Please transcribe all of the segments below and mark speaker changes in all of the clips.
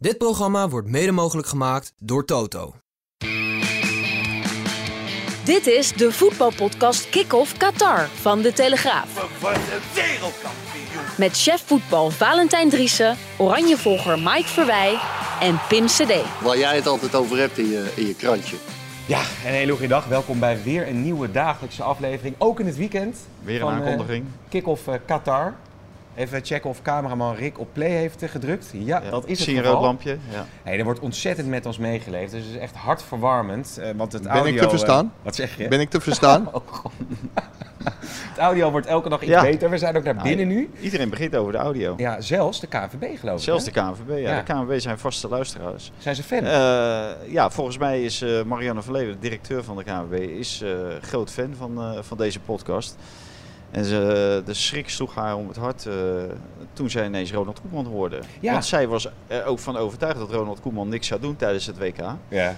Speaker 1: Dit programma wordt mede mogelijk gemaakt door Toto.
Speaker 2: Dit is de voetbalpodcast Kick-Off Qatar van De Telegraaf.
Speaker 3: Wordt een wereldkampioen.
Speaker 2: Met chef voetbal Valentijn Driessen, oranjevolger Mike Verwij en Pim Cedee.
Speaker 4: Waar jij het altijd over hebt in je, in je krantje.
Speaker 5: Ja, en hele goede dag. Welkom bij weer een nieuwe dagelijkse aflevering. Ook in het weekend.
Speaker 6: Weer een
Speaker 5: van, eh,
Speaker 6: aankondiging.
Speaker 5: Kick-off eh, Qatar. Even checken of cameraman Rick op play heeft eh, gedrukt. Ja,
Speaker 6: Ja,
Speaker 5: dat is
Speaker 6: ik
Speaker 5: het
Speaker 6: zie een
Speaker 5: geval.
Speaker 6: rood lampje. Ja.
Speaker 5: Nee, er wordt ontzettend met ons meegeleefd. Dus het is echt hartverwarmend. eh, want het
Speaker 4: Ben ik
Speaker 5: audio,
Speaker 4: te
Speaker 5: eh,
Speaker 4: verstaan?
Speaker 5: wat zeg je?
Speaker 4: Ben ik te verstaan?
Speaker 5: Oh, God. het audio wordt elke dag iets
Speaker 6: Ja.
Speaker 5: beter. We zijn ook naar
Speaker 6: Nou,
Speaker 5: binnen nu.
Speaker 6: Iedereen begint over de audio.
Speaker 5: Ja, zelfs de KNVB geloof ik.
Speaker 6: Zelfs
Speaker 5: hè?
Speaker 6: de KNVB. Ja.
Speaker 5: Ja.
Speaker 6: De KNVB zijn vaste luisteraars.
Speaker 5: Zijn ze fan?
Speaker 6: Eh, ja, volgens mij is eh, Marianne Verleven, de directeur van de KNVB, is eh, groot fan van, eh, van deze podcast. En ze, eh, de schrik sloeg haar om het hart eh, toen zij ineens Ronald Koeman hoorde.
Speaker 5: Ja.
Speaker 6: Want zij was er ook van overtuigd dat Ronald Koeman niks zou doen tijdens het WK.
Speaker 5: ja,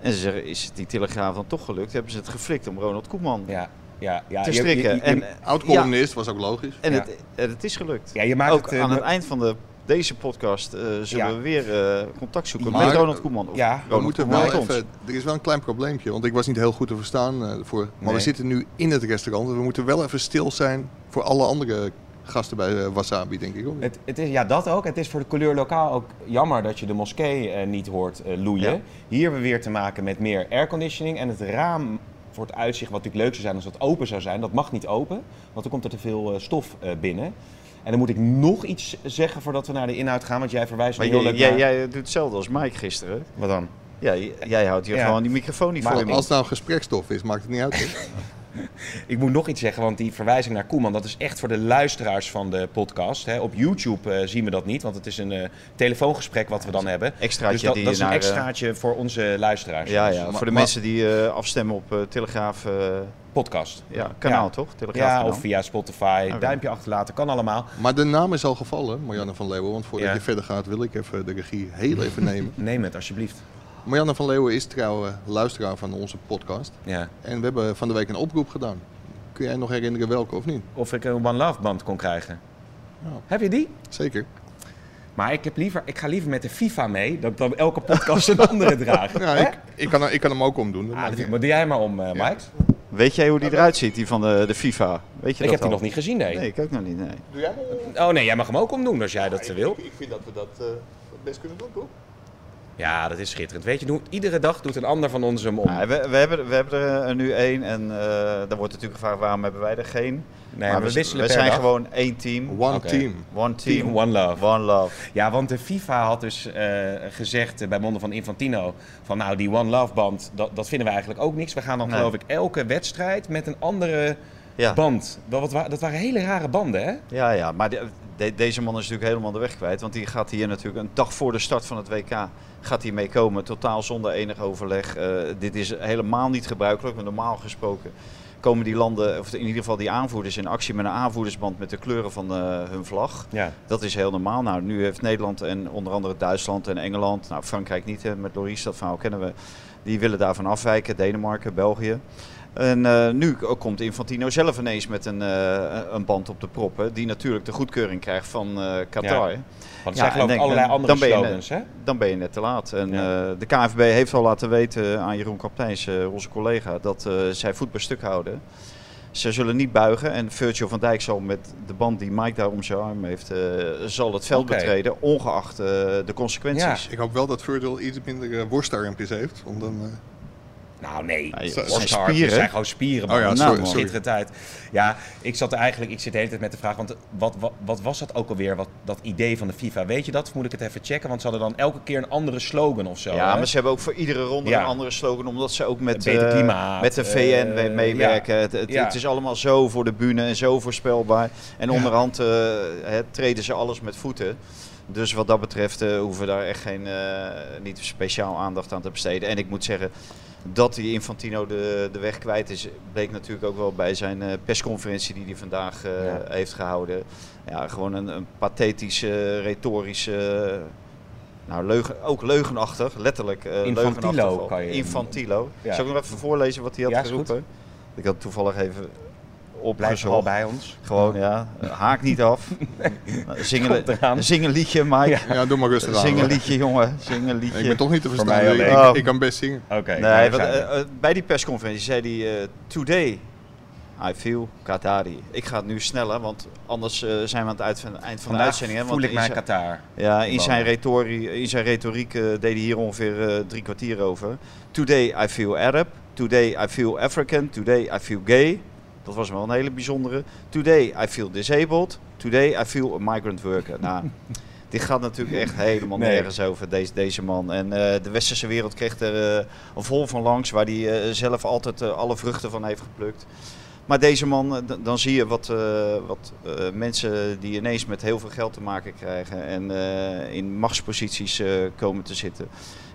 Speaker 6: En ze zeggen, is het die telegraaf dan toch gelukt? Hebben ze het geflikt om Ronald Koeman
Speaker 5: ja, ja. ja.
Speaker 6: te
Speaker 5: Je- je-
Speaker 6: strikken?
Speaker 5: je-
Speaker 6: en, ja.
Speaker 4: Oud-columnist was ook logisch.
Speaker 6: En,
Speaker 5: Ja.
Speaker 6: het, en het is gelukt.
Speaker 5: Ja, je maakt
Speaker 6: Ook
Speaker 5: het, eh,
Speaker 6: aan
Speaker 5: me-
Speaker 6: het eind van de, deze podcast eh, zullen
Speaker 5: Ja.
Speaker 6: we weer eh, contact zoeken
Speaker 4: Maar-
Speaker 6: met Ronald Koeman. Of
Speaker 5: Ja. We
Speaker 4: We
Speaker 6: Ronald
Speaker 4: moeten
Speaker 6: Koeman
Speaker 4: wel
Speaker 6: met ons.
Speaker 4: even, er is wel een klein probleempje, want ik was niet heel goed te verstaan eh, voor. Maar
Speaker 5: Nee.
Speaker 4: we zitten nu in het restaurant en we moeten wel even stil zijn voor alle andere gasten bij eh, Wasabi, denk ik. hoor.
Speaker 5: Het, het is, ja, dat ook. Het is voor de couleur lokaal ook jammer dat je de moskee eh, niet hoort eh, loeien.
Speaker 6: Ja.
Speaker 5: Hier hebben we weer te maken met meer airconditioning. En het raam voor het uitzicht, wat natuurlijk leuk zou zijn als dat open zou zijn, dat mag niet open. Want dan komt er te veel eh, stof eh, binnen. En dan moet ik nog iets zeggen voordat we naar de inhoud gaan, want jij verwijst
Speaker 6: Maar
Speaker 5: nu heel
Speaker 6: jij,
Speaker 5: leuk
Speaker 6: jij,
Speaker 5: naar-
Speaker 6: jij doet hetzelfde als Mike gisteren.
Speaker 5: Wat dan?
Speaker 6: Ja, j- jij houdt hier
Speaker 5: Ja.
Speaker 6: gewoon die microfoon niet
Speaker 5: Maar
Speaker 6: voor
Speaker 4: Want
Speaker 6: je
Speaker 4: als
Speaker 6: mond.
Speaker 4: het nou gesprekstof is, maakt het niet uit. hè?
Speaker 5: Ik moet nog iets zeggen, want die verwijzing naar Koeman, dat is echt voor de luisteraars van de podcast. Hè. Op YouTube eh, zien we dat niet, want het is een eh, telefoongesprek wat we dan hebben.
Speaker 6: extraatje
Speaker 5: dus dat,
Speaker 6: die
Speaker 5: dat
Speaker 6: je
Speaker 5: is een
Speaker 6: naar, eh,
Speaker 5: extraatje voor onze luisteraars.
Speaker 6: Ja,
Speaker 5: Dus
Speaker 6: ja,
Speaker 4: Maar-
Speaker 6: voor de
Speaker 4: maar-
Speaker 6: mensen die eh, afstemmen op eh, Telegraaf eh,
Speaker 5: Podcast.
Speaker 6: ja, kanaal,
Speaker 5: Ja.
Speaker 6: toch? Telegraaf
Speaker 5: Ja,
Speaker 6: kanaal.
Speaker 5: of via Spotify.
Speaker 6: Oké.
Speaker 5: Duimpje achterlaten, kan allemaal.
Speaker 4: maar de naam is al gevallen, Marianne van Leeuwen. Want voordat
Speaker 5: Ja.
Speaker 4: je verder gaat, wil ik even de regie heel even nemen.
Speaker 5: Neem het alsjeblieft.
Speaker 4: Marianne van Leeuwen is trouwens luisteraar van onze podcast.
Speaker 5: Ja.
Speaker 4: En we hebben van de week een oproep gedaan. Kun jij nog herinneren welke of niet?
Speaker 5: Of ik een One Love band kon krijgen.
Speaker 4: Nou.
Speaker 5: Heb je die?
Speaker 4: Zeker.
Speaker 5: Maar ik, heb liever, ik ga liever met de FIFA mee dan, dan elke podcast een andere dragen.
Speaker 4: Ja, ik, ik, kan, ik kan hem ook omdoen. dat
Speaker 5: Ah,
Speaker 4: maakt
Speaker 5: dat-
Speaker 4: niet
Speaker 5: maar doe jij maar om, eh, Mike.
Speaker 6: Weet jij hoe die eruit ziet, die van de, de FIFA? Weet je
Speaker 5: ik
Speaker 6: dat
Speaker 5: heb die
Speaker 6: al?
Speaker 5: nog niet gezien, nee.
Speaker 6: Nee, ik ook nog niet, nee.
Speaker 5: Oh nee, jij mag hem ook omdoen als jij dat eh, wil.
Speaker 4: vind dat we dat eh, best kunnen doen, toch?
Speaker 5: Ja, dat is schitterend. Weet je, doe- iedere dag doet een ander van ons hem om.
Speaker 6: Nou, we, we, hebben, we hebben er eh, nu één en eh, dan wordt natuurlijk gevraagd waarom hebben wij er geen.
Speaker 5: Nee, we wisselen
Speaker 6: we
Speaker 5: per
Speaker 6: zijn
Speaker 5: dag.
Speaker 6: gewoon één team.
Speaker 4: One
Speaker 5: Oké.
Speaker 4: team.
Speaker 6: One team,
Speaker 5: Team, one love.
Speaker 6: One love.
Speaker 5: Ja, want de FIFA had dus eh, gezegd eh, bij monden van Infantino... van nou, die One Love band, dat, dat vinden we eigenlijk ook niks. We gaan dan
Speaker 6: Nee.
Speaker 5: geloof ik elke wedstrijd met een andere
Speaker 6: Ja,
Speaker 5: band. Dat, wat wa- dat waren hele rare banden, hè?
Speaker 6: ja, ja. maar de- de- deze man is natuurlijk helemaal de weg kwijt. Want die gaat hier natuurlijk een dag voor de start van het WK gaat hij mee komen. Totaal zonder enig overleg. Eh, dit is helemaal niet gebruikelijk. Maar normaal gesproken komen die landen, of in ieder geval die aanvoerders in actie met een aanvoerdersband met de kleuren van eh, hun vlag.
Speaker 5: Ja.
Speaker 6: Dat is heel normaal. Nou, nu heeft Nederland en onder andere Duitsland en Engeland, nou Frankrijk niet, hè, met Loris, dat verhaal kennen we. Die willen daarvan afwijken, Denemarken, België. En eh, nu k- komt Infantino zelf ineens met een, eh, een band op de prop, hè, die natuurlijk de goedkeuring krijgt van eh, Qatar.
Speaker 5: Ja. Want er zijn
Speaker 6: Ja, en
Speaker 5: geloof ik
Speaker 6: denk,
Speaker 5: allerlei
Speaker 6: dan-
Speaker 5: andere
Speaker 6: dan ben je
Speaker 5: slogans, hè?
Speaker 6: Dan ben je net te laat. En
Speaker 5: Ja.
Speaker 6: eh, de KNVB heeft al laten weten aan Jeroen Kapteins, eh, onze collega, dat eh, zij voet bij stuk houden. Ze zullen niet buigen en Virgil van Dijk zal met de band die Mike daar om zijn arm heeft, eh, zal het veld
Speaker 5: Oké.
Speaker 6: betreden, ongeacht eh, de consequenties.
Speaker 4: Ik hoop wel dat Virgil iets minder eh, worstarmpjes heeft. Want dan, eh,
Speaker 5: Nou nee,
Speaker 6: Ja, joh,
Speaker 5: Horse
Speaker 6: zijn
Speaker 5: Harp, het
Speaker 6: spieren.
Speaker 5: zijn gewoon spieren. Man.
Speaker 4: Oh ja,
Speaker 5: Nou,
Speaker 6: sorry,
Speaker 5: man.
Speaker 4: sorry.
Speaker 5: Schitterende tijd. Ja, ik zat er eigenlijk, ik zit de hele tijd met de vraag, want wat, wat, wat was dat ook alweer, wat, dat idee van de FIFA? Weet je dat? Of Moet ik het even checken? Want ze hadden dan elke keer een andere slogan of zo.
Speaker 6: Ja,
Speaker 5: hè?
Speaker 6: maar ze hebben ook voor iedere ronde
Speaker 5: Ja.
Speaker 6: een andere slogan, omdat ze ook
Speaker 5: Het
Speaker 6: met,
Speaker 5: beter
Speaker 6: eh,
Speaker 5: klimaat,
Speaker 6: met de
Speaker 5: eh,
Speaker 6: VN mee- meewerken. het, het,
Speaker 5: ja.
Speaker 6: het is allemaal zo voor de bühne en zo voorspelbaar. En onderhand eh, hè, treden ze alles met voeten. Dus wat dat betreft eh, hoeven we daar echt geen, eh, niet speciaal aandacht aan te besteden. En ik moet zeggen, dat die Infantino de, de weg kwijt is, bleek natuurlijk ook wel bij zijn eh, persconferentie die hij vandaag eh,
Speaker 5: Ja.
Speaker 6: heeft gehouden. Ja, gewoon een, een pathetische, retorische, nou, leugen, ook leugenachtig, letterlijk. eh,
Speaker 5: Infantilo
Speaker 6: leugenachtig al.
Speaker 5: kan je-
Speaker 6: Infantilo.
Speaker 5: Ja.
Speaker 6: Zal ik nog even voorlezen wat hij had
Speaker 5: Ja, is goed.
Speaker 6: geroepen? Ik had toevallig even
Speaker 5: Blijf vooral
Speaker 6: opgezocht.
Speaker 5: bij ons.
Speaker 6: Gewoon, ja. Haak niet af. Zing
Speaker 5: Komt eraan.
Speaker 6: een, zing een liedje, Mike.
Speaker 4: eh, Ja, doe maar rustig aan.
Speaker 6: Zing een
Speaker 4: hoor.
Speaker 6: liedje, Oh. jongen. Zing een liedje.
Speaker 4: Ik ben toch niet te verstaan.
Speaker 5: mij
Speaker 4: Ik,
Speaker 5: alleen.
Speaker 4: ik- ik kan best zingen.
Speaker 5: Oké.
Speaker 6: nee,
Speaker 5: daar
Speaker 6: want,
Speaker 5: zijn we.
Speaker 6: eh, eh, bij die persconferentie zei hij... eh, Today, I feel Qatari. Ik ga het nu sneller, want anders eh, zijn we aan het uit- van- eind van de
Speaker 5: Vandaag
Speaker 6: uitzending. hè, want eh,
Speaker 5: voel ik
Speaker 6: in
Speaker 5: mij
Speaker 6: zijn-
Speaker 5: Qatar.
Speaker 6: Ja, in zijn, retori- in zijn retoriek eh, deed hij hier ongeveer eh, drie kwartier over. Today I feel Arab. Today I feel African. Today I feel gay. Dat was wel een hele bijzondere. Today I feel disabled. Today I feel a migrant worker. Nou, dit gaat natuurlijk echt helemaal
Speaker 5: Nee.
Speaker 6: nergens over, deze, deze man. En eh, de westerse wereld kreeg er eh, een vol van langs, waar hij eh, zelf altijd eh, alle vruchten van heeft geplukt. Maar deze man, eh, d- dan zie je wat, eh, wat eh, mensen die ineens met heel veel geld te maken krijgen en eh, in machtsposities eh, komen te zitten.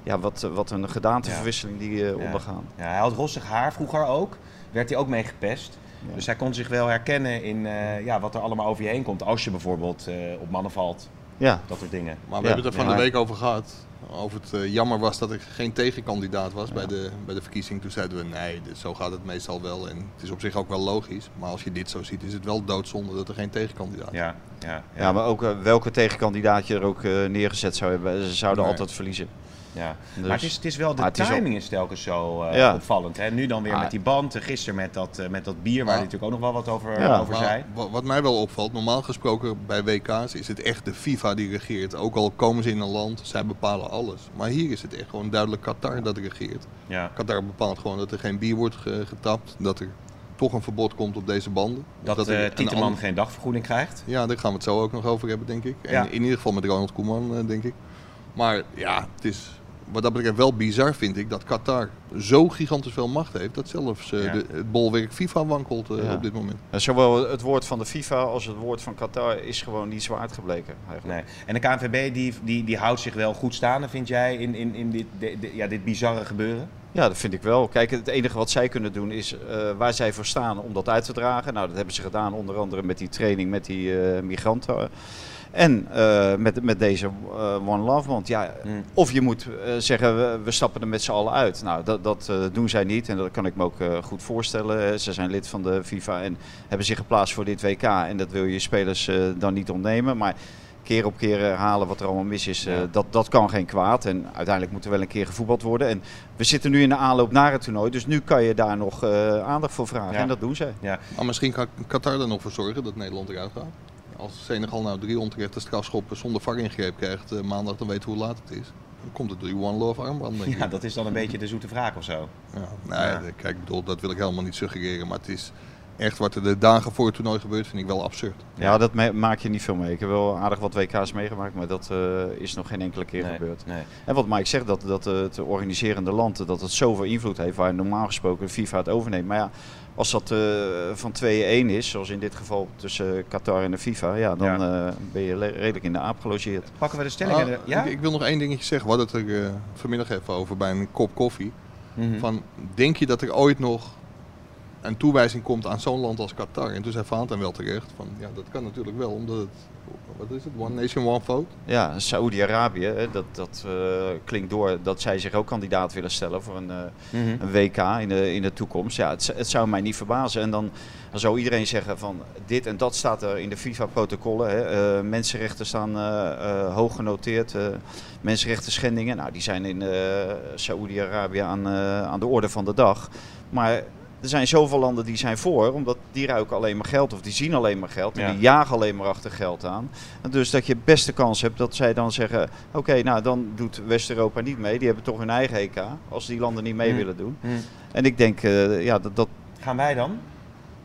Speaker 6: Ja, wat, eh, wat een gedaanteverwisseling die eh,
Speaker 5: Ja.
Speaker 6: ondergaan.
Speaker 5: Ja, hij had rossig haar vroeger ook. Werd hij ook mee gepest.
Speaker 6: Ja.
Speaker 5: Dus hij kon zich wel herkennen in eh, ja, wat er allemaal over je heen komt. Als je bijvoorbeeld eh, op mannen valt.
Speaker 6: Ja,
Speaker 5: Dat soort dingen.
Speaker 4: Maar we
Speaker 6: Ja,
Speaker 4: hebben het er van
Speaker 6: ja.
Speaker 4: de week over gehad. Over het eh, jammer was dat er geen tegenkandidaat was bij, de, bij de verkiezing. Toen zeiden we, nee, dit- zo gaat het meestal wel. En het is op zich ook wel logisch. Maar als je dit zo ziet, is het wel doodzonde dat er geen tegenkandidaat is.
Speaker 5: Ja, ja, ja.
Speaker 6: ja maar ook eh, welke tegenkandidaat je er ook eh, neergezet zou hebben, ze zouden
Speaker 4: Nee.
Speaker 6: altijd verliezen.
Speaker 5: ja.
Speaker 6: Dus-
Speaker 5: maar het is, het is wel, de
Speaker 6: Maar het is ook-
Speaker 5: timing is telkens zo eh,
Speaker 6: Ja.
Speaker 5: opvallend. Hè? Nu dan weer
Speaker 6: Ah.
Speaker 5: met die band. eh, Gisteren met dat, eh, met dat bier, waar hij
Speaker 4: Ja.
Speaker 5: natuurlijk ook nog wel wat over,
Speaker 6: Ja.
Speaker 5: over
Speaker 4: Maar
Speaker 5: zei.
Speaker 4: wa- wat mij wel opvalt, normaal gesproken bij WK's is het echt de FIFA die regeert. Ook al komen ze in een land, zij bepalen alles. Maar hier is het echt gewoon duidelijk Qatar dat regeert.
Speaker 5: Ja.
Speaker 4: Qatar bepaalt gewoon dat er geen bier wordt ge- getapt. Dat er toch een verbod komt op deze banden. Of
Speaker 5: Dat,
Speaker 4: er
Speaker 5: eh
Speaker 4: een
Speaker 5: Tieteman
Speaker 4: ander-
Speaker 5: geen dagvergoeding krijgt.
Speaker 4: Ja, daar gaan we het zo ook nog over hebben, denk ik. En
Speaker 5: Ja.
Speaker 4: in ieder geval met Ronald Koeman, eh, denk ik. Maar ja, het is wat dat betreft wel bizar, vind ik, dat Qatar zo gigantisch veel macht heeft... dat zelfs eh,
Speaker 5: Ja.
Speaker 4: de, het bolwerk FIFA wankelt eh,
Speaker 6: Ja.
Speaker 4: op dit moment.
Speaker 6: En Zowel het woord van de FIFA als het woord van Qatar is gewoon niet zwaard gebleken. Eigenlijk.
Speaker 5: Nee. En de KNVB die, die, die houdt zich wel goed staande, vind jij, in, in, in dit, de- de- ja, dit bizarre gebeuren?
Speaker 6: Ja, dat vind ik wel. Kijk, het enige wat zij kunnen doen is eh, waar zij voor staan om dat uit te dragen. Nou, dat hebben ze gedaan onder andere met die training met die eh, migranten. En eh, met, met deze eh, One Love Band. Ja,
Speaker 5: Mm.
Speaker 6: Of je moet eh, zeggen, we, we stappen er met z'n allen uit. Nou, dat, dat eh, doen zij niet en dat kan ik me ook eh, goed voorstellen. Eh, Ze zijn lid van de FIFA en hebben zich geplaatst voor dit WK. En dat wil je spelers eh, dan niet ontnemen. Maar keer op keer herhalen wat er allemaal mis is, eh,
Speaker 5: Ja.
Speaker 6: dat, dat kan geen kwaad. En uiteindelijk moet er wel een keer gevoetbald worden. En we zitten nu in de aanloop naar het toernooi, dus nu kan je daar nog eh, aandacht voor vragen.
Speaker 5: Ja.
Speaker 6: En dat doen zij.
Speaker 4: Maar misschien kan Qatar er nog voor zorgen dat Nederland eruit gaat. Als Senegal nou drie onterechte strafschoppen zonder var ingreep krijgt eh, maandag, dan weten we hoe laat het is. Dan komt het door die One Love armband, denk ik.
Speaker 5: Ja, dat is dan een beetje de zoete vraag of zo.
Speaker 4: Ja, nou ja, de- Kijk, ik bedoel, dat wil ik helemaal niet suggereren, maar het is echt wat er de dagen voor het toernooi gebeurt, vind ik wel absurd.
Speaker 6: Ja, dat me- maak je niet veel mee. Ik heb wel aardig wat WK's meegemaakt, maar dat eh, is nog geen enkele keer gebeurd.
Speaker 5: Nee.
Speaker 6: En wat Mike zegt, dat, dat eh, het organiserende land eh, dat het zoveel invloed heeft waar normaal gesproken de FIFA het overneemt. Maar ja, als dat eh, van 2-1 is, zoals in dit geval tussen Qatar en de FIFA, ja, dan
Speaker 5: Ja.
Speaker 6: eh, ben je le- redelijk in de aap gelogeerd.
Speaker 5: Pakken we de stellingen?
Speaker 4: Ah,
Speaker 5: er- ja?
Speaker 4: ik, ik wil nog één dingetje zeggen. We hadden het er eh, vanmiddag even over bij een kop koffie.
Speaker 5: Mhm.
Speaker 4: Van, denk je dat er ooit nog een toewijzing komt aan zo'n land als Qatar? En toen zei Vaanten wel terecht van, ja, dat kan natuurlijk wel, omdat het, wat is het, One Nation, One Vote?
Speaker 6: Ja, Saoedi-Arabië, hè, dat, dat eh, klinkt door dat zij zich ook kandidaat willen stellen voor een, eh,
Speaker 5: Mhm.
Speaker 6: een WK in de, in de toekomst. Ja, het, z- het zou mij niet verbazen. En dan, dan zou iedereen zeggen van dit en dat staat er in de FIFA-protocollen. hè. Eh, mensenrechten staan eh, eh, hoog genoteerd. eh mensenrechten schendingen, nou, die zijn in eh Saoedi-Arabië aan, eh, aan de orde van de dag. Maar er zijn zoveel landen die zijn voor, omdat die ruiken alleen maar geld of die zien alleen maar geld en
Speaker 5: Ja.
Speaker 6: die jagen alleen maar achter geld aan. En dus dat je best de kans hebt dat zij dan zeggen, oké, nou dan doet West-Europa niet mee. Die hebben toch hun eigen EK, als die landen niet mee
Speaker 5: Hmm.
Speaker 6: willen doen.
Speaker 5: Mhm.
Speaker 6: En ik denk, eh, ja, dat, dat
Speaker 5: Gaan wij dan?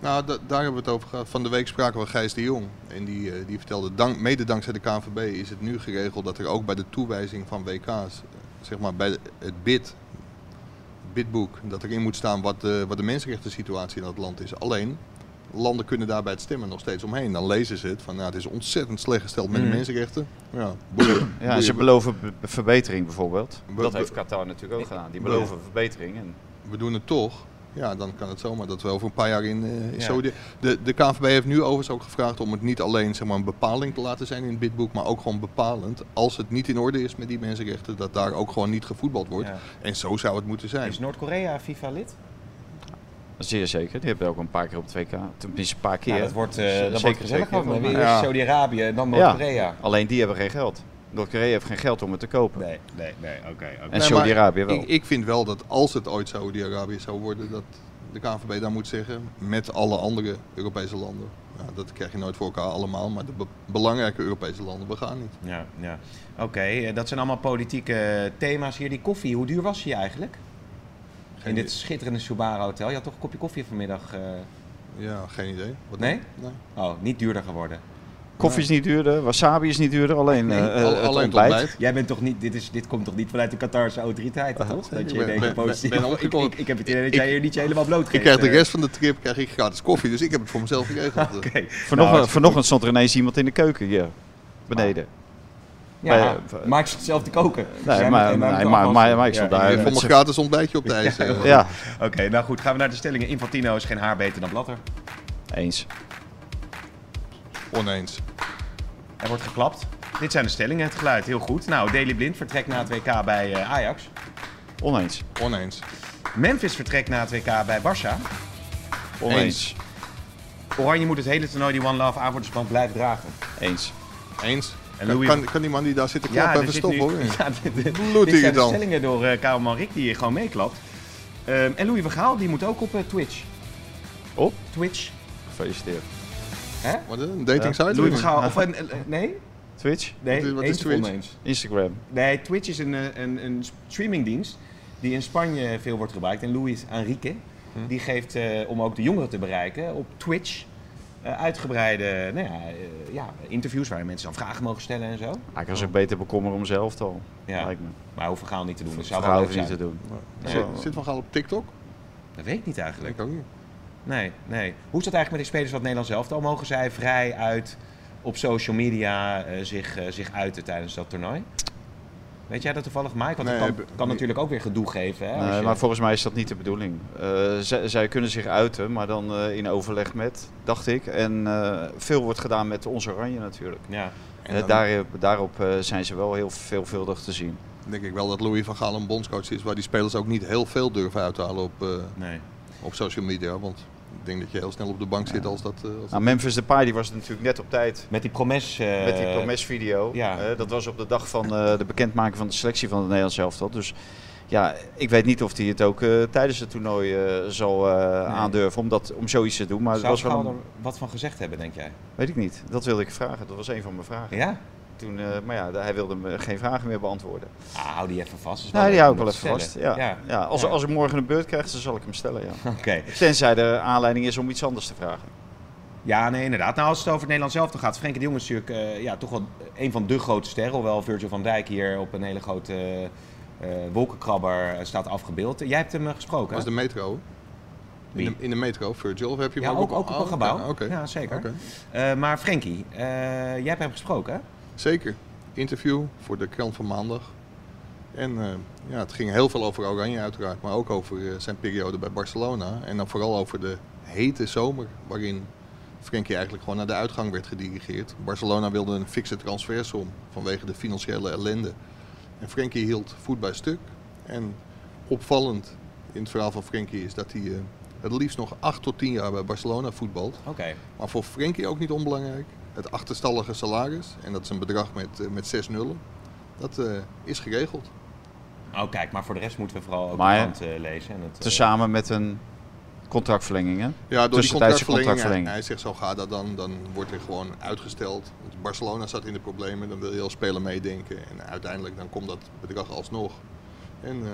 Speaker 4: Nou, da- daar hebben we het over gehad. Van de week spraken we Gijs de Jong. En die, eh, die vertelde, dank, mede dankzij de KNVB is het nu geregeld dat er ook bij de toewijzing van WK's, eh, zeg maar bij de- het BID, het BIDboek, dat erin moet staan wat de, wat de mensenrechten situatie in dat land is. Alleen, landen kunnen daar bij het stemmen nog steeds omheen. Dan lezen ze het van, nou, het is ontzettend slecht gesteld met de mensenrechten. Ja, boeien.
Speaker 6: Mm. Ja, en ze
Speaker 4: Boeien.
Speaker 6: beloven be- be- verbetering bijvoorbeeld.
Speaker 4: Be-
Speaker 6: dat
Speaker 4: be-
Speaker 6: heeft Qatar natuurlijk ook gedaan. Die beloven verbetering. En
Speaker 4: we doen het toch. Ja, dan kan het zomaar dat we over een paar jaar in eh, in
Speaker 5: Ja.
Speaker 4: Saudi... De, de KNVB heeft nu overigens ook gevraagd om het niet alleen zeg maar, een bepaling te laten zijn in het bidboek, maar ook gewoon bepalend. Als het niet in orde is met die mensenrechten, dat daar ook gewoon niet gevoetbald wordt.
Speaker 5: Ja.
Speaker 4: En zo zou het moeten zijn.
Speaker 5: Is Noord-Korea FIFA-lid?
Speaker 6: zeer zeker. Die hebben ook een paar keer op 2K. Tenminste, een paar keer.
Speaker 5: Ja, dat wordt, eh
Speaker 6: Z-
Speaker 5: dat wordt
Speaker 6: zeker,
Speaker 5: gezellig.
Speaker 6: zeker.
Speaker 5: Ook, maar weer
Speaker 6: Ja.
Speaker 5: eerst Saudi-Arabië en dan Noord-Korea.
Speaker 6: Alleen die hebben geen geld. Noord-Korea heeft geen geld om het te kopen.
Speaker 5: Nee, nee, nee. Oké. oké.
Speaker 6: En
Speaker 4: Nee, maar
Speaker 6: Saudi-Arabië wel.
Speaker 4: Ik, ik vind wel dat als het ooit Saudi-Arabië zou worden, dat de KNVB daar moet zeggen, met alle andere Europese landen. Ja, dat krijg je nooit voor elkaar allemaal, maar de be- belangrijke Europese landen begaan niet.
Speaker 5: Ja, ja. Oké, eh, dat zijn allemaal politieke eh, thema's hier. Die koffie, hoe duur was die eigenlijk? In dit
Speaker 4: idee.
Speaker 5: schitterende Subara Hotel. Je had toch een kopje koffie vanmiddag. eh,
Speaker 4: Ja, geen idee. Wat
Speaker 5: Nee?
Speaker 4: nee.
Speaker 5: Oh, niet duurder geworden.
Speaker 6: Koffie is niet duurder, wasabi is niet duurder, alleen, eh, eh,
Speaker 4: Al-
Speaker 6: het
Speaker 4: alleen
Speaker 6: ontbijt.
Speaker 4: ontbijt.
Speaker 5: Jij bent toch niet, dit, is, dit komt toch niet vanuit de Qatarse autoriteiten, toch? Dat je
Speaker 4: ben-
Speaker 5: denkt,
Speaker 4: ben- ben-
Speaker 5: positief.
Speaker 4: ben
Speaker 5: ik,
Speaker 4: opgekomen.
Speaker 5: ik, ik heb het idee dat
Speaker 4: Ik-
Speaker 5: jij hier niet je helemaal bloot
Speaker 4: Ik
Speaker 5: geeft,
Speaker 4: krijg de
Speaker 5: eh.
Speaker 4: rest van de trip krijg ik gratis koffie, dus ik heb het voor mezelf geregeld.
Speaker 5: Oké.
Speaker 6: Vanochtend,
Speaker 5: Nou,
Speaker 6: vanochtend stond er ineens iemand in de keuken hier, beneden.
Speaker 5: ja,
Speaker 6: bij-
Speaker 5: maak ze het zelf te koken.
Speaker 6: Nee,
Speaker 5: Zij moet-
Speaker 6: maar-
Speaker 5: wij
Speaker 6: nee,
Speaker 5: moeten
Speaker 6: maar-
Speaker 5: afwassen.
Speaker 6: maar- maar ik stond daar.
Speaker 4: Ik
Speaker 6: Ja,
Speaker 4: vond
Speaker 6: dat
Speaker 4: mijn
Speaker 6: is-
Speaker 4: gratis ontbijtje op deze.
Speaker 5: Ah.
Speaker 4: eh,
Speaker 6: Ja,
Speaker 5: Oké, nou goed, gaan we naar de stellingen. Infantino is geen haar beter dan Blatter.
Speaker 6: eens.
Speaker 4: Oneens.
Speaker 5: Er wordt geklapt. Dit zijn de stellingen, het geluid, heel goed. Nou, Daily Blind vertrekt na het WK bij eh, Ajax.
Speaker 6: Oneens.
Speaker 4: Oneens.
Speaker 5: Memphis vertrekt na het WK bij Barça.
Speaker 6: Oneens.
Speaker 5: Oranje moet het hele toernooi die One Love aanvoerdersband blijven dragen.
Speaker 6: Eens.
Speaker 4: Eens.
Speaker 5: En
Speaker 4: Kan,
Speaker 5: Louis-
Speaker 4: kan, kan die man die daar zit te klappen
Speaker 5: er
Speaker 4: even
Speaker 5: zit
Speaker 4: stoppen hoor.
Speaker 5: nu- Ja, dit, dit-
Speaker 4: Bloedt
Speaker 5: dit
Speaker 4: hij
Speaker 5: zijn de
Speaker 4: dan?
Speaker 5: stellingen door eh Karel Manrik die hier gewoon meeklapt. Ehm, en Louis van Gaal, die moet ook op eh, Twitch.
Speaker 6: Op?
Speaker 5: Twitch.
Speaker 6: Gefeliciteerd.
Speaker 4: Wat een dating site?
Speaker 5: Louis van Gaal, of een, eh, nee?
Speaker 6: Twitch,
Speaker 4: Wat
Speaker 5: Nee,
Speaker 4: is- wat is
Speaker 5: eens of
Speaker 4: Twitch?
Speaker 5: oneens?
Speaker 6: Instagram.
Speaker 5: Nee, Twitch is een, eh, een, een streamingdienst die in Spanje veel wordt gebruikt. En Luis Enrique, die geeft eh, om ook de jongeren te bereiken op Twitch eh, uitgebreide nou ja, eh, ja, interviews waarin mensen dan vragen mogen stellen en zo.
Speaker 6: Hij kan zich beter bekommeren om zijn elftal,
Speaker 5: Ja.
Speaker 6: lijkt me.
Speaker 5: Maar hoeven Gaal niet te doen. Dat zou wel
Speaker 6: Verhaal
Speaker 5: leuk
Speaker 6: hoeft niet
Speaker 5: zijn.
Speaker 6: te doen.
Speaker 4: Zit, zit van Gaal op TikTok?
Speaker 5: Dat weet ik niet eigenlijk.
Speaker 4: Ik ook niet.
Speaker 5: Nee, nee. Hoe is dat eigenlijk met die spelers van het Nederlands elftal? Mogen zij vrij uit op social media eh, zich, eh, zich uiten tijdens dat toernooi? Weet jij dat toevallig, Mike? Want
Speaker 4: Nee,
Speaker 5: dat kan,
Speaker 4: heb-
Speaker 5: kan natuurlijk ook weer gedoe geven. Hè, als
Speaker 6: Nee,
Speaker 5: je-
Speaker 6: Eh, maar volgens mij is dat niet de bedoeling. Eh, zij, zij kunnen zich uiten, maar dan eh, in overleg met, dacht ik. En eh, veel wordt gedaan met onze oranje natuurlijk.
Speaker 5: ja.
Speaker 4: En
Speaker 6: Eh,
Speaker 4: dan-
Speaker 6: daar, daarop eh, zijn ze wel heel veelvuldig te zien.
Speaker 4: denk ik wel dat Louis van Gaal een bondscoach is waar die spelers ook niet heel veel durven uit te halen op, eh,
Speaker 5: Nee.
Speaker 4: op social media. Want ik denk dat je heel snel op de bank zit als dat. eh, als
Speaker 6: Nou, Memphis Depay die was er natuurlijk net op tijd
Speaker 5: Met die promes. eh,
Speaker 6: met die promes-video.
Speaker 5: ja.
Speaker 6: Eh, dat was op de dag van eh, de bekendmaking van de selectie van het Nederlands elftal. Dus ja, ik weet niet of hij het ook eh, tijdens het toernooi eh, zal eh, aandurven om, dat, om zoiets te doen. Maar het
Speaker 5: Zou
Speaker 6: was wel
Speaker 5: Gaal
Speaker 6: een-
Speaker 5: er wat van gezegd hebben, denk jij?
Speaker 6: Weet ik niet. Dat wilde ik vragen. Dat was een van mijn vragen.
Speaker 5: Ja?
Speaker 6: Toen, eh, maar ja, hij wilde me geen vragen meer beantwoorden.
Speaker 5: Ah, hou die even vast. is
Speaker 6: Nou, die
Speaker 5: leuk
Speaker 6: hou ik
Speaker 5: om
Speaker 6: wel
Speaker 5: te
Speaker 6: even vast.
Speaker 5: stellen.
Speaker 6: Ja. Ja. als,
Speaker 5: Ja.
Speaker 6: als ik morgen een beurt krijg, dan zal ik hem stellen. Ja.
Speaker 5: Oké.
Speaker 6: Tenzij er aanleiding is om iets anders te vragen.
Speaker 5: Ja, nee, inderdaad. Nou, als het over het Nederlands elftal gaat, Frenkie de Jong is natuurlijk eh, ja, toch wel een van de grote sterren. Hoewel Virgil van Dijk hier op een hele grote eh, eh, wolkenkrabber eh, staat afgebeeld. Jij hebt hem eh, gesproken,
Speaker 4: was
Speaker 5: hè?
Speaker 4: de metro. In de, in de metro, Virgil, of heb je hem
Speaker 5: Ja, ook,
Speaker 4: op-
Speaker 5: ook op
Speaker 4: oh,
Speaker 5: een gebouw.
Speaker 4: oké, oké.
Speaker 5: Ja, zeker.
Speaker 4: Oké.
Speaker 5: Eh, maar Frenkie, eh, jij hebt hem gesproken, hè?
Speaker 4: Zeker. Interview voor de krant van maandag. En eh, ja, het ging heel veel over Oranje uiteraard, maar ook over eh, zijn periode bij Barcelona. En dan vooral over de hete zomer waarin Frenkie eigenlijk gewoon naar de uitgang werd gedirigeerd. Barcelona wilde een fikse transfersom vanwege de financiële ellende. En Frenkie hield voet bij stuk. En opvallend in het verhaal van Frenkie is dat hij eh, het liefst nog 8 tot 10 jaar bij Barcelona voetbalt.
Speaker 5: Oké.
Speaker 4: Maar voor Frenkie ook niet onbelangrijk. Het achterstallige salaris, en dat is een bedrag met, eh, met zes nullen, dat eh, is geregeld.
Speaker 5: Oh, kijk, maar voor de rest moeten we vooral ook
Speaker 6: Maar-
Speaker 5: de krant eh, lezen. En het, eh,
Speaker 6: Tezamen met een contractverlenging. Hè?
Speaker 4: Ja, door die
Speaker 6: Tussentijdse
Speaker 4: contractverlenging. Hij,
Speaker 6: contractverlenging.
Speaker 4: hij zegt zo gaat dat dan, dan wordt er gewoon uitgesteld. Want Barcelona zat in de problemen, dan wil je als speler meedenken. En uiteindelijk dan komt dat bedrag alsnog. En eh,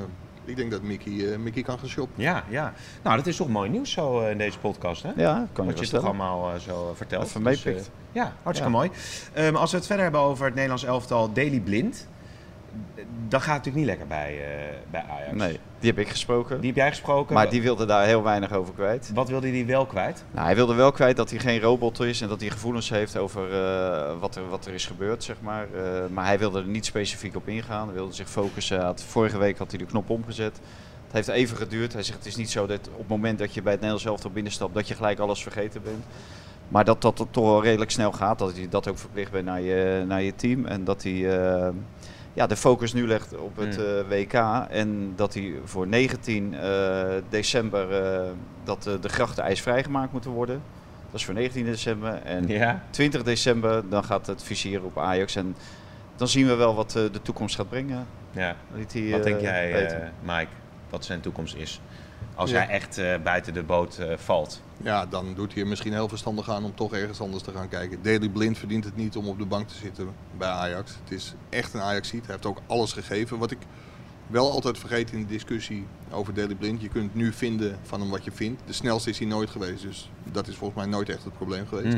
Speaker 4: ik denk dat Mickey, eh, Mickey kan gaan shoppen.
Speaker 5: Ja, ja. Nou, dat is toch mooi nieuws zo eh, in deze podcast, hè?
Speaker 6: Ja, kan je
Speaker 5: Wat
Speaker 6: wel
Speaker 5: je toch
Speaker 6: stellen.
Speaker 5: allemaal eh, zo eh, vertelt.
Speaker 6: Even
Speaker 5: Dus,
Speaker 6: meepikt.
Speaker 5: eh, ja, hartstikke mooi. Ehm, als we het verder hebben over het Nederlands elftal Daily Blind. dat gaat natuurlijk niet lekker bij, eh, bij Ajax.
Speaker 6: Nee, die heb ik gesproken.
Speaker 5: Die heb jij gesproken.
Speaker 6: maar die wilde daar heel weinig over kwijt.
Speaker 5: Wat wilde hij wel kwijt?
Speaker 6: Nou, hij wilde wel kwijt dat hij geen robot is en dat hij gevoelens heeft over eh, wat, er, wat er is gebeurd, zeg maar. Eh, maar hij wilde er niet specifiek op ingaan. Hij wilde zich focussen. Hij had- vorige week had hij de knop omgezet. Het heeft even geduurd. Hij zegt het is niet zo dat op het moment dat je bij het Nederlands elftal binnenstapt, dat je gelijk alles vergeten bent. Maar dat dat toch wel redelijk snel gaat. Dat je dat ook verplicht bent naar je, naar je team. En dat hij eh, ja, de focus nu legt op het
Speaker 5: Mm.
Speaker 6: eh, WK. En dat hij voor 19 eh, december eh, dat eh, de grachten ijsvrij gemaakt moeten worden. Dat is voor 19 december. En
Speaker 5: Ja.
Speaker 6: 20 december dan gaat het vizier op Ajax. En dan zien we wel wat eh, de toekomst gaat brengen.
Speaker 5: ja.
Speaker 6: Liet hij,
Speaker 5: Wat
Speaker 6: eh,
Speaker 5: denk jij,
Speaker 6: weten.
Speaker 5: eh, Mike, wat zijn toekomst is? Als
Speaker 4: Ja.
Speaker 5: hij echt eh, buiten de boot eh, valt.
Speaker 4: Ja, dan doet hij er misschien heel verstandig aan om toch ergens anders te gaan kijken. Daley Blind verdient het niet om op de bank te zitten bij Ajax. Het is echt een Ajax-ziet. Hij heeft ook alles gegeven. Wat ik wel altijd vergeet in de discussie over Daley Blind. Je kunt nu vinden van hem wat je vindt. De snelste is hij nooit geweest. Dus dat is volgens mij nooit echt het probleem geweest.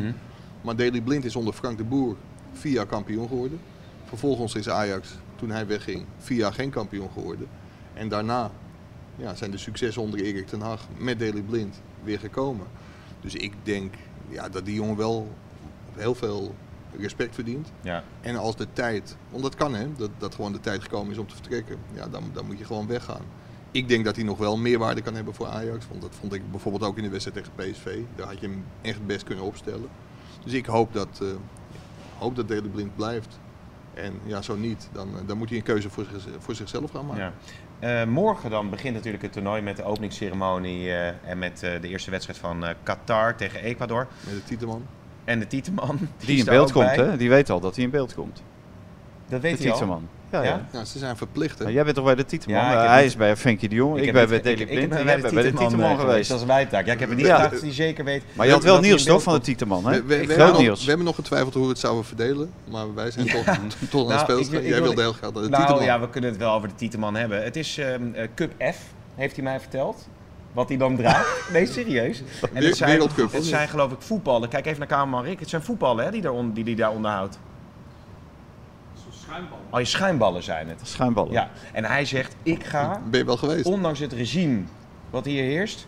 Speaker 4: Maar Daley Blind is onder Frank de Boer via kampioen geworden. Vervolgens is Ajax, toen hij wegging, via geen kampioen geworden. En daarna ja, zijn de successen onder Erik ten Hag met Daley Blind weer gekomen. Dus ik denk ja, dat die jongen wel heel veel respect verdient.
Speaker 5: Ja.
Speaker 4: En als de tijd, want dat kan hè, dat, dat gewoon de tijd gekomen is om te vertrekken, ja, dan, dan moet je gewoon weggaan. Ik denk dat hij nog wel meerwaarde kan hebben voor Ajax. Want dat vond ik bijvoorbeeld ook in de wedstrijd tegen PSV. Daar had je hem echt best kunnen opstellen. Dus ik hoop dat, eh hoop dat Daley Blind blijft. En ja, zo niet, dan, eh, dan moet hij een keuze voor, zich- voor zichzelf gaan maken.
Speaker 5: Ja. Eh, morgen dan begint natuurlijk het toernooi met de openingsceremonie eh, en met eh, de eerste wedstrijd van eh, Qatar tegen Ecuador.
Speaker 4: Met de titelman.
Speaker 5: En de Tieteman.
Speaker 6: Die in
Speaker 5: is daar
Speaker 6: beeld
Speaker 5: ook
Speaker 6: komt,
Speaker 5: bij.
Speaker 6: hè? Die weet al dat hij in beeld komt.
Speaker 5: Dat
Speaker 6: De
Speaker 5: weet hij al.
Speaker 6: Tieteman. Ja, ja.
Speaker 5: Ja?
Speaker 4: Ja, ze zijn verplicht hè.
Speaker 6: Nou, jij bent toch bij de Tieteman?
Speaker 5: Ja, ik heb
Speaker 6: Eh, hij
Speaker 5: niet-
Speaker 6: is bij Frenkie de Jong. Ik,
Speaker 5: heb
Speaker 6: ben bij
Speaker 5: niet-
Speaker 6: Deli
Speaker 5: ik-
Speaker 6: Blind.
Speaker 5: ik ben bij
Speaker 6: en jij
Speaker 5: de
Speaker 6: bent bij de
Speaker 5: Tieteman
Speaker 6: Tieteman
Speaker 5: eh,
Speaker 6: geweest.
Speaker 5: Dat is mijn taak. Ja, ik heb het niet
Speaker 6: Ja.
Speaker 5: gedacht dat hij zeker weet.
Speaker 6: Maar je
Speaker 5: dat-
Speaker 6: had wel
Speaker 5: dat hij
Speaker 6: nieuws
Speaker 5: in beeld
Speaker 6: toch van de
Speaker 5: komt.
Speaker 6: Tieteman, hè?
Speaker 4: We, we- we
Speaker 6: Groot
Speaker 4: hebben nog,
Speaker 6: nieuws.
Speaker 4: we hebben nog getwijfeld hoe we het zouden verdelen, maar wij zijn toch, toch aan
Speaker 5: Nou,
Speaker 4: het spel.
Speaker 5: ik- ik
Speaker 4: gegaan.
Speaker 5: wil-
Speaker 4: Jij wilde heel graag dat de
Speaker 5: nou
Speaker 4: titel
Speaker 5: ja, we kunnen het wel over de Tieteman hebben. Het is ehm, eh, Cup F, heeft hij mij verteld. Wat hij dan draagt. Nee, serieus. En
Speaker 4: Wer-
Speaker 5: het zijn,
Speaker 4: Wereldcup,
Speaker 5: het
Speaker 4: of
Speaker 5: zijn
Speaker 4: niet?
Speaker 5: geloof ik voetballen. Kijk even naar cameraman Rick. Het zijn voetballen hè, die daaronder die, die daar onderhoudt. Schuimballen. Oh, je schuimballen zijn het.
Speaker 6: Schuimballen.
Speaker 5: Ja. En hij zegt, ik ga,
Speaker 4: Ben je wel geweest?
Speaker 5: ondanks het regime wat hier heerst,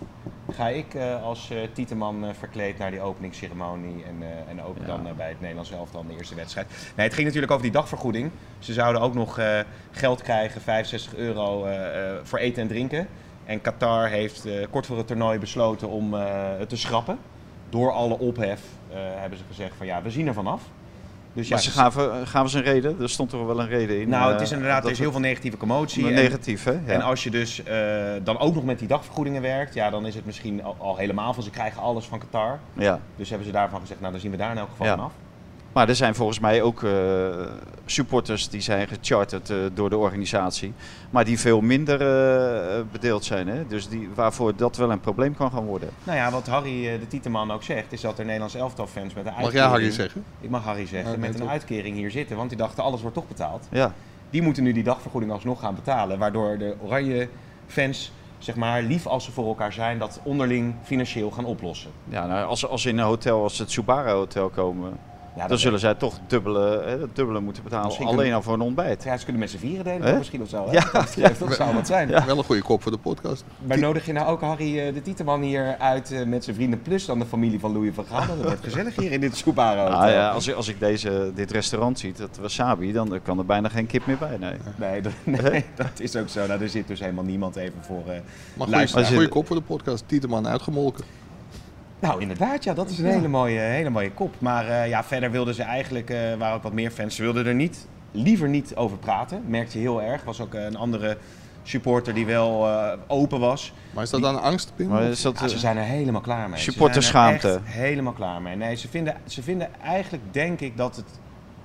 Speaker 5: ga ik eh, als eh Tieteman eh, verkleed naar die openingsceremonie. En, eh, en ook dan eh, bij het Nederlands elftal in de eerste wedstrijd. Nee, het ging natuurlijk over die dagvergoeding. Ze zouden ook nog eh, geld krijgen, 65 euro eh, eh, voor eten en drinken. En Qatar heeft eh, kort voor het toernooi besloten om eh, het te schrappen. Door alle ophef eh, hebben ze gezegd van ja, we zien er vanaf. Dus
Speaker 6: Maar ze gaven, gaven ze een reden. Er stond toch wel een reden in.
Speaker 5: nou, het
Speaker 6: eh,
Speaker 5: is inderdaad, er
Speaker 6: dat
Speaker 5: is heel veel negatieve commotie.
Speaker 6: het-
Speaker 5: en-
Speaker 6: negatief, hè? Ja.
Speaker 5: en als je dus eh, dan ook nog met die dagvergoedingen werkt, ja, dan is het misschien al, al helemaal van ze krijgen alles van Qatar.
Speaker 6: ja.
Speaker 5: Dus hebben ze daarvan gezegd, nou dan zien we daar in elk geval
Speaker 6: Ja.
Speaker 5: vanaf.
Speaker 6: Maar er zijn volgens mij ook eh, supporters die zijn gecharterd eh, door de organisatie. Maar die veel minder eh, bedeeld zijn. Hè? Dus die, waarvoor dat wel een probleem kan gaan worden.
Speaker 5: Nou ja, wat Harry eh, de Tieteman ook zegt, is dat er Nederlands elftal fans met een
Speaker 4: Mag
Speaker 5: uitkering...
Speaker 4: jij Harry zeggen?
Speaker 5: Ik mag Harry zeggen,
Speaker 4: Oké,
Speaker 5: met een
Speaker 4: top.
Speaker 5: uitkering hier zitten, want die dachten alles wordt toch betaald.
Speaker 6: Ja,
Speaker 5: Die moeten nu die dagvergoeding alsnog gaan betalen, waardoor de oranje fans, zeg maar, lief als ze voor elkaar zijn, dat onderling financieel gaan oplossen.
Speaker 6: ja nou, als, als ze in een hotel, als ze het Subara Hotel komen,
Speaker 5: Ja,
Speaker 6: dan zullen zij toch dubbele, hè, dat dubbele moeten betalen.
Speaker 5: Misschien
Speaker 6: alleen
Speaker 5: kunnen-
Speaker 6: al voor een ontbijt.
Speaker 5: Ja, ze kunnen met z'n vieren delen
Speaker 6: Hè?
Speaker 5: misschien of zo. hè?
Speaker 6: Ja.
Speaker 5: Wat dat betreft, dat zou wat zijn.
Speaker 4: Wel een goede kop voor de podcast.
Speaker 5: Maar nodig je nou ook Harry eh, de Tieteman hier uit eh, met zijn vrienden plus dan de familie van Louis van Gaal? Dat wordt gezellig hier in dit Soeparo.
Speaker 6: Ah, ja, als, ik- als ik deze, dit restaurant zie, dat wasabi, dan kan er bijna geen kip meer bij. Nee.
Speaker 5: Nee, dat, nee, dat is ook zo. Nou, er zit dus helemaal niemand even voor. eh,
Speaker 4: Maar
Speaker 5: Luister.
Speaker 4: goede, goede kop voor de podcast. Tieteman uitgemolken.
Speaker 5: Nou, inderdaad, ja, dat is een hele mooie, hele mooie kop. Maar eh, ja, verder wilden ze eigenlijk, eh waren ook wat meer fans, ze wilden er niet, liever niet over praten. Merkte je heel erg. Was ook eh, een andere supporter die wel eh, open was.
Speaker 4: Maar is dat dan angst, Pim?
Speaker 6: Maar is dat,
Speaker 5: Ja, ze
Speaker 6: eh,
Speaker 5: zijn er helemaal klaar mee. Ze
Speaker 6: Supporterschaamte.
Speaker 5: zijn er echt Helemaal klaar mee. Nee, ze vinden, ze vinden eigenlijk, denk ik, dat het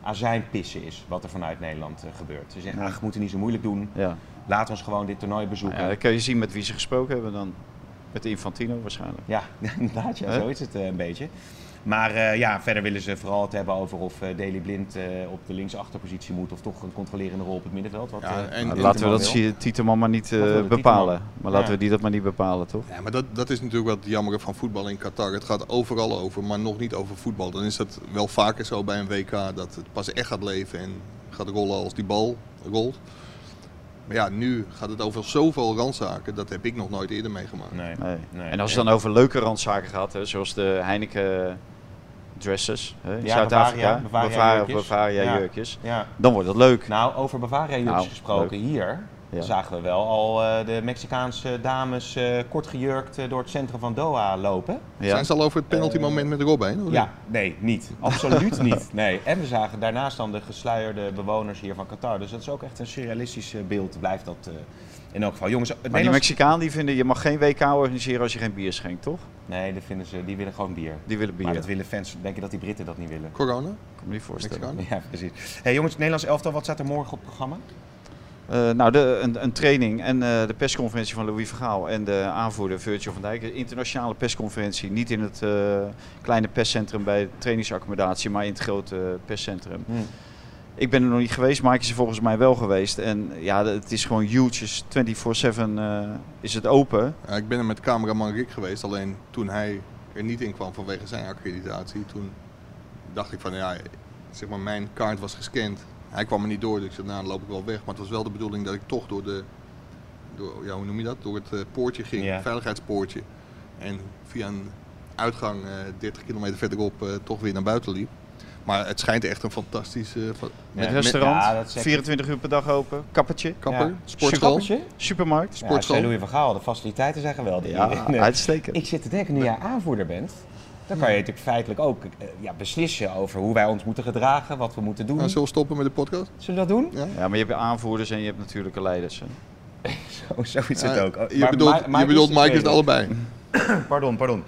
Speaker 5: azijnpissen is wat er vanuit Nederland eh, gebeurt. Ze zeggen, ach, we moeten niet zo moeilijk doen.
Speaker 6: ja.
Speaker 5: Laat ons gewoon dit toernooi bezoeken.
Speaker 6: Ja, dan kun je zien met wie ze gesproken hebben dan. Met Infantino waarschijnlijk.
Speaker 5: Ja, inderdaad, ja,
Speaker 6: Hè?
Speaker 5: zo is het eh, een beetje. Maar eh, ja, verder willen ze vooral het hebben over of eh Daley Blind eh, op de linksachterpositie moet of toch een controlerende rol op het middenveld. Wat,
Speaker 4: Ja,
Speaker 5: eh,
Speaker 4: en-
Speaker 6: Nou, laten
Speaker 4: en-
Speaker 6: we
Speaker 5: Tieteman
Speaker 6: dat
Speaker 5: wil.
Speaker 6: zie- Tieteman maar niet eh,
Speaker 5: Laten we de
Speaker 6: bepalen.
Speaker 5: Tieteman.
Speaker 6: Maar laten
Speaker 5: Ja.
Speaker 6: we die dat maar niet bepalen, toch?
Speaker 4: Ja, maar dat, dat is natuurlijk wel het jammer van voetbal in Qatar. Het gaat overal over, maar nog niet over voetbal. Dan is dat wel vaker zo bij een WK dat het pas echt gaat leven en gaat rollen als die bal rolt. Maar ja, nu gaat het over zoveel randzaken, dat heb ik nog nooit eerder meegemaakt.
Speaker 5: Nee.
Speaker 6: Nee.
Speaker 5: Nee.
Speaker 6: En als het dan over leuke randzaken gaat, hè, zoals de Heineken dresses hè, in
Speaker 5: Ja,
Speaker 6: Zuid-Afrika,
Speaker 5: Bavaria- Bavaria jurkjes.
Speaker 6: Bavaria
Speaker 5: Ja.
Speaker 6: jurkjes,
Speaker 5: Ja.
Speaker 6: dan wordt het leuk.
Speaker 5: Nou, over Bavaria jurkjes
Speaker 6: Nou,
Speaker 5: gesproken. Hier
Speaker 6: Ja.
Speaker 5: zagen we wel al eh, de Mexicaanse dames eh, kort gejurkt eh, door het centrum van Doha lopen.
Speaker 6: Ja.
Speaker 4: Zijn ze al over het penaltymoment met Rob heen? of
Speaker 5: Eh, Ja, nee, niet. Absoluut niet. Nee. En we zagen daarnaast dan de gesluierde bewoners hier van Qatar. Dus dat is ook echt een surrealistisch eh, beeld, blijft dat eh, in elk geval. Jongens, het
Speaker 6: Maar die
Speaker 5: Nederlands...
Speaker 6: Mexicaan die vinden, je mag geen WK organiseren als je geen bier schenkt, toch?
Speaker 5: Nee, dat vinden ze, die willen gewoon bier.
Speaker 6: Die willen bier.
Speaker 5: Maar dat willen fans, denk je dat die Britten dat niet willen?
Speaker 4: niet? Corona?
Speaker 6: Ik kan me niet voorstellen.
Speaker 4: Mexicaan?
Speaker 5: Ja, precies. Hey, jongens, het Nederlands elftal, wat staat er morgen op het programma?
Speaker 6: Eh, nou, de, een, een training en eh, de persconferentie van Louis Vergaal en de aanvoerder Virgil van Dijk. Een internationale persconferentie, niet in het eh, kleine perscentrum bij de trainingsaccommodatie, maar in het grote eh, perscentrum.
Speaker 5: Hmm.
Speaker 6: Ik ben er nog niet geweest, Mike is er volgens mij wel geweest. En ja, de- het is gewoon huge, is 24-7 eh, is het open.
Speaker 4: Ja, Eh, ik ben er met cameraman Rick geweest, alleen toen hij er niet in kwam vanwege zijn accreditatie, toen dacht ik van ja, zeg maar mijn kaart was gescand. Hij kwam er niet door, dus ik zei nou dan loop ik wel weg. Maar het was wel de bedoeling dat ik toch door de, door, ja hoe noem je dat, door het eh, poortje ging,
Speaker 5: Ja.
Speaker 4: het veiligheidspoortje. En via een uitgang eh 30 kilometer verderop eh, toch weer naar buiten liep. Maar het schijnt echt een fantastische eh, fa-
Speaker 5: Ja,
Speaker 6: Het
Speaker 4: met-
Speaker 6: restaurant,
Speaker 5: ja, dat is echt-
Speaker 6: 24 uur per dag open, kappertje,
Speaker 4: met kapper,
Speaker 5: Ja.
Speaker 4: sportschool,
Speaker 5: Kappertje?
Speaker 6: supermarkt.
Speaker 5: Ja,
Speaker 4: Sportschool.
Speaker 5: zei Louis van Gaal, de faciliteiten zijn geweldig.
Speaker 6: Ja,
Speaker 5: Nee.
Speaker 6: uitstekend.
Speaker 5: Ik zit te denken, nu jij aanvoerder bent, dan kan je natuurlijk feitelijk ook eh, ja, beslissen over hoe wij ons moeten gedragen, wat we moeten doen.
Speaker 4: Nou, zullen we stoppen met de podcast?
Speaker 5: Zullen we dat doen?
Speaker 6: Ja, maar je hebt aanvoerders en je hebt natuurlijke leiders. hè.
Speaker 5: Oh, zo is het
Speaker 4: Ja,
Speaker 5: ook. Oh,
Speaker 4: Eh, Je
Speaker 5: maar
Speaker 4: bedoelt,
Speaker 5: Ma-
Speaker 4: je bedoelt Mike is het
Speaker 5: tweede.
Speaker 4: allebei.
Speaker 5: Pardon, pardon.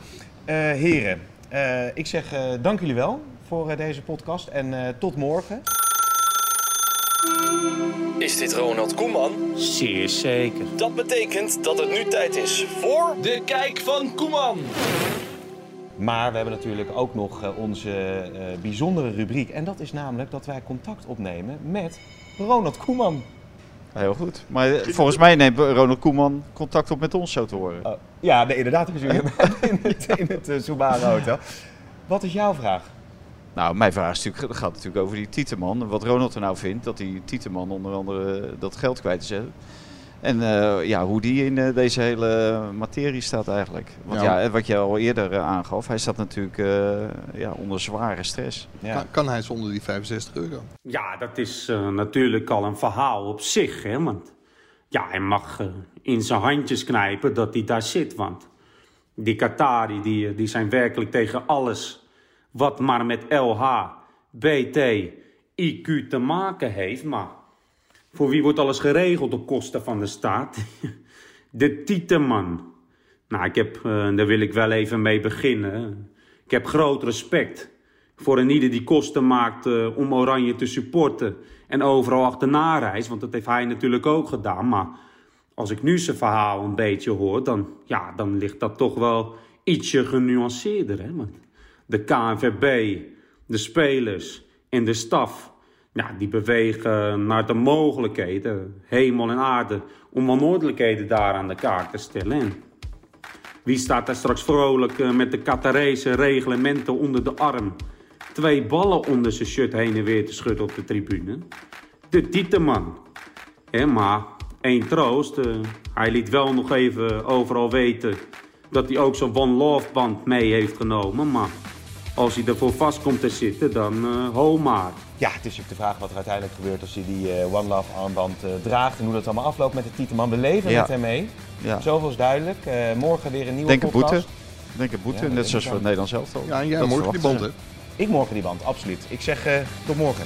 Speaker 5: Eh, heren, eh, ik zeg eh, dank jullie wel voor eh, deze podcast en eh, tot morgen.
Speaker 7: Is dit Ronald Koeman?
Speaker 8: Zeer zeker.
Speaker 7: Dat betekent dat het nu tijd is voor... De Kijk van Koeman!
Speaker 5: Maar we hebben natuurlijk ook nog eh, onze eh, bijzondere rubriek. En dat is namelijk dat wij contact opnemen met Ronald Koeman.
Speaker 6: Heel goed. Maar eh, volgens mij neemt Ronald Koeman contact op met ons, zo te horen.
Speaker 5: Oh, ja, nee, inderdaad, dat is u in het, in het eh, Subaru Hotel. Wat is jouw vraag?
Speaker 6: Nou, mijn vraag is natuurlijk, gaat natuurlijk over die Tieteman. Wat Ronald er nou vindt, dat die Tieteman onder andere eh, dat geld kwijt is. hè. En eh, ja, hoe die in eh, deze hele materie staat eigenlijk. Want
Speaker 4: Ja.
Speaker 6: ja, eh, wat jij al eerder eh, aangaf, hij staat natuurlijk eh, ja, onder zware stress.
Speaker 5: Ja.
Speaker 4: Kan, kan hij zonder die 65 euro?
Speaker 8: Ja, dat is eh, natuurlijk al een verhaal op zich, hè. Want ja, hij mag eh, in zijn handjes knijpen dat hij daar zit. Want die Qatari, die, eh, die zijn werkelijk tegen alles wat maar met LH, BT, IQ te maken heeft. Maar voor wie wordt alles geregeld op kosten van de staat? De Tieteman. Nou, ik heb, eh, en daar wil ik wel even mee beginnen. Ik heb groot respect voor een ieder die kosten maakt eh, om Oranje te supporten. En overal achterna reist, want dat heeft hij natuurlijk ook gedaan. Maar als ik nu zijn verhaal een beetje hoor, dan, ja, dan ligt dat toch wel ietsje genuanceerder. Hè? Want de KNVB, de spelers en de staf, ja, die bewegen naar de mogelijkheden, hemel en aarde, om onnoordelijkheden daar aan de kaak te stellen. En wie staat daar straks vrolijk eh, met de Qatarese reglementen onder de arm? Twee ballen onder zijn shirt heen en weer te schudden op de tribune. De Tieteman. Hè, maar één troost. eh, hij liet wel nog even overal weten dat hij ook zo'n One Love band mee heeft genomen. Maar als hij ervoor vast komt te zitten, dan eh ho maar.
Speaker 5: Ja, het is natuurlijk de vraag wat er uiteindelijk gebeurt als hij die eh, One Love armband eh, draagt. En hoe dat allemaal afloopt met de Tieteman. We leven
Speaker 6: Ja.
Speaker 5: met hem mee.
Speaker 6: Ja.
Speaker 5: Zoveel is duidelijk. Eh, morgen weer een nieuwe
Speaker 6: Denk een
Speaker 5: podcast.
Speaker 6: boete. Denk een boete,
Speaker 5: Ja, dat
Speaker 6: net
Speaker 5: denk
Speaker 6: zoals
Speaker 5: ik
Speaker 6: voor het
Speaker 5: ook.
Speaker 6: Nederlands elftal.
Speaker 4: Ja, en jij
Speaker 6: Dat
Speaker 4: morgen die
Speaker 6: verwachten
Speaker 4: band,
Speaker 6: ze.
Speaker 4: hè?
Speaker 5: Ik morgen die band, absoluut. Ik zeg eh, tot morgen.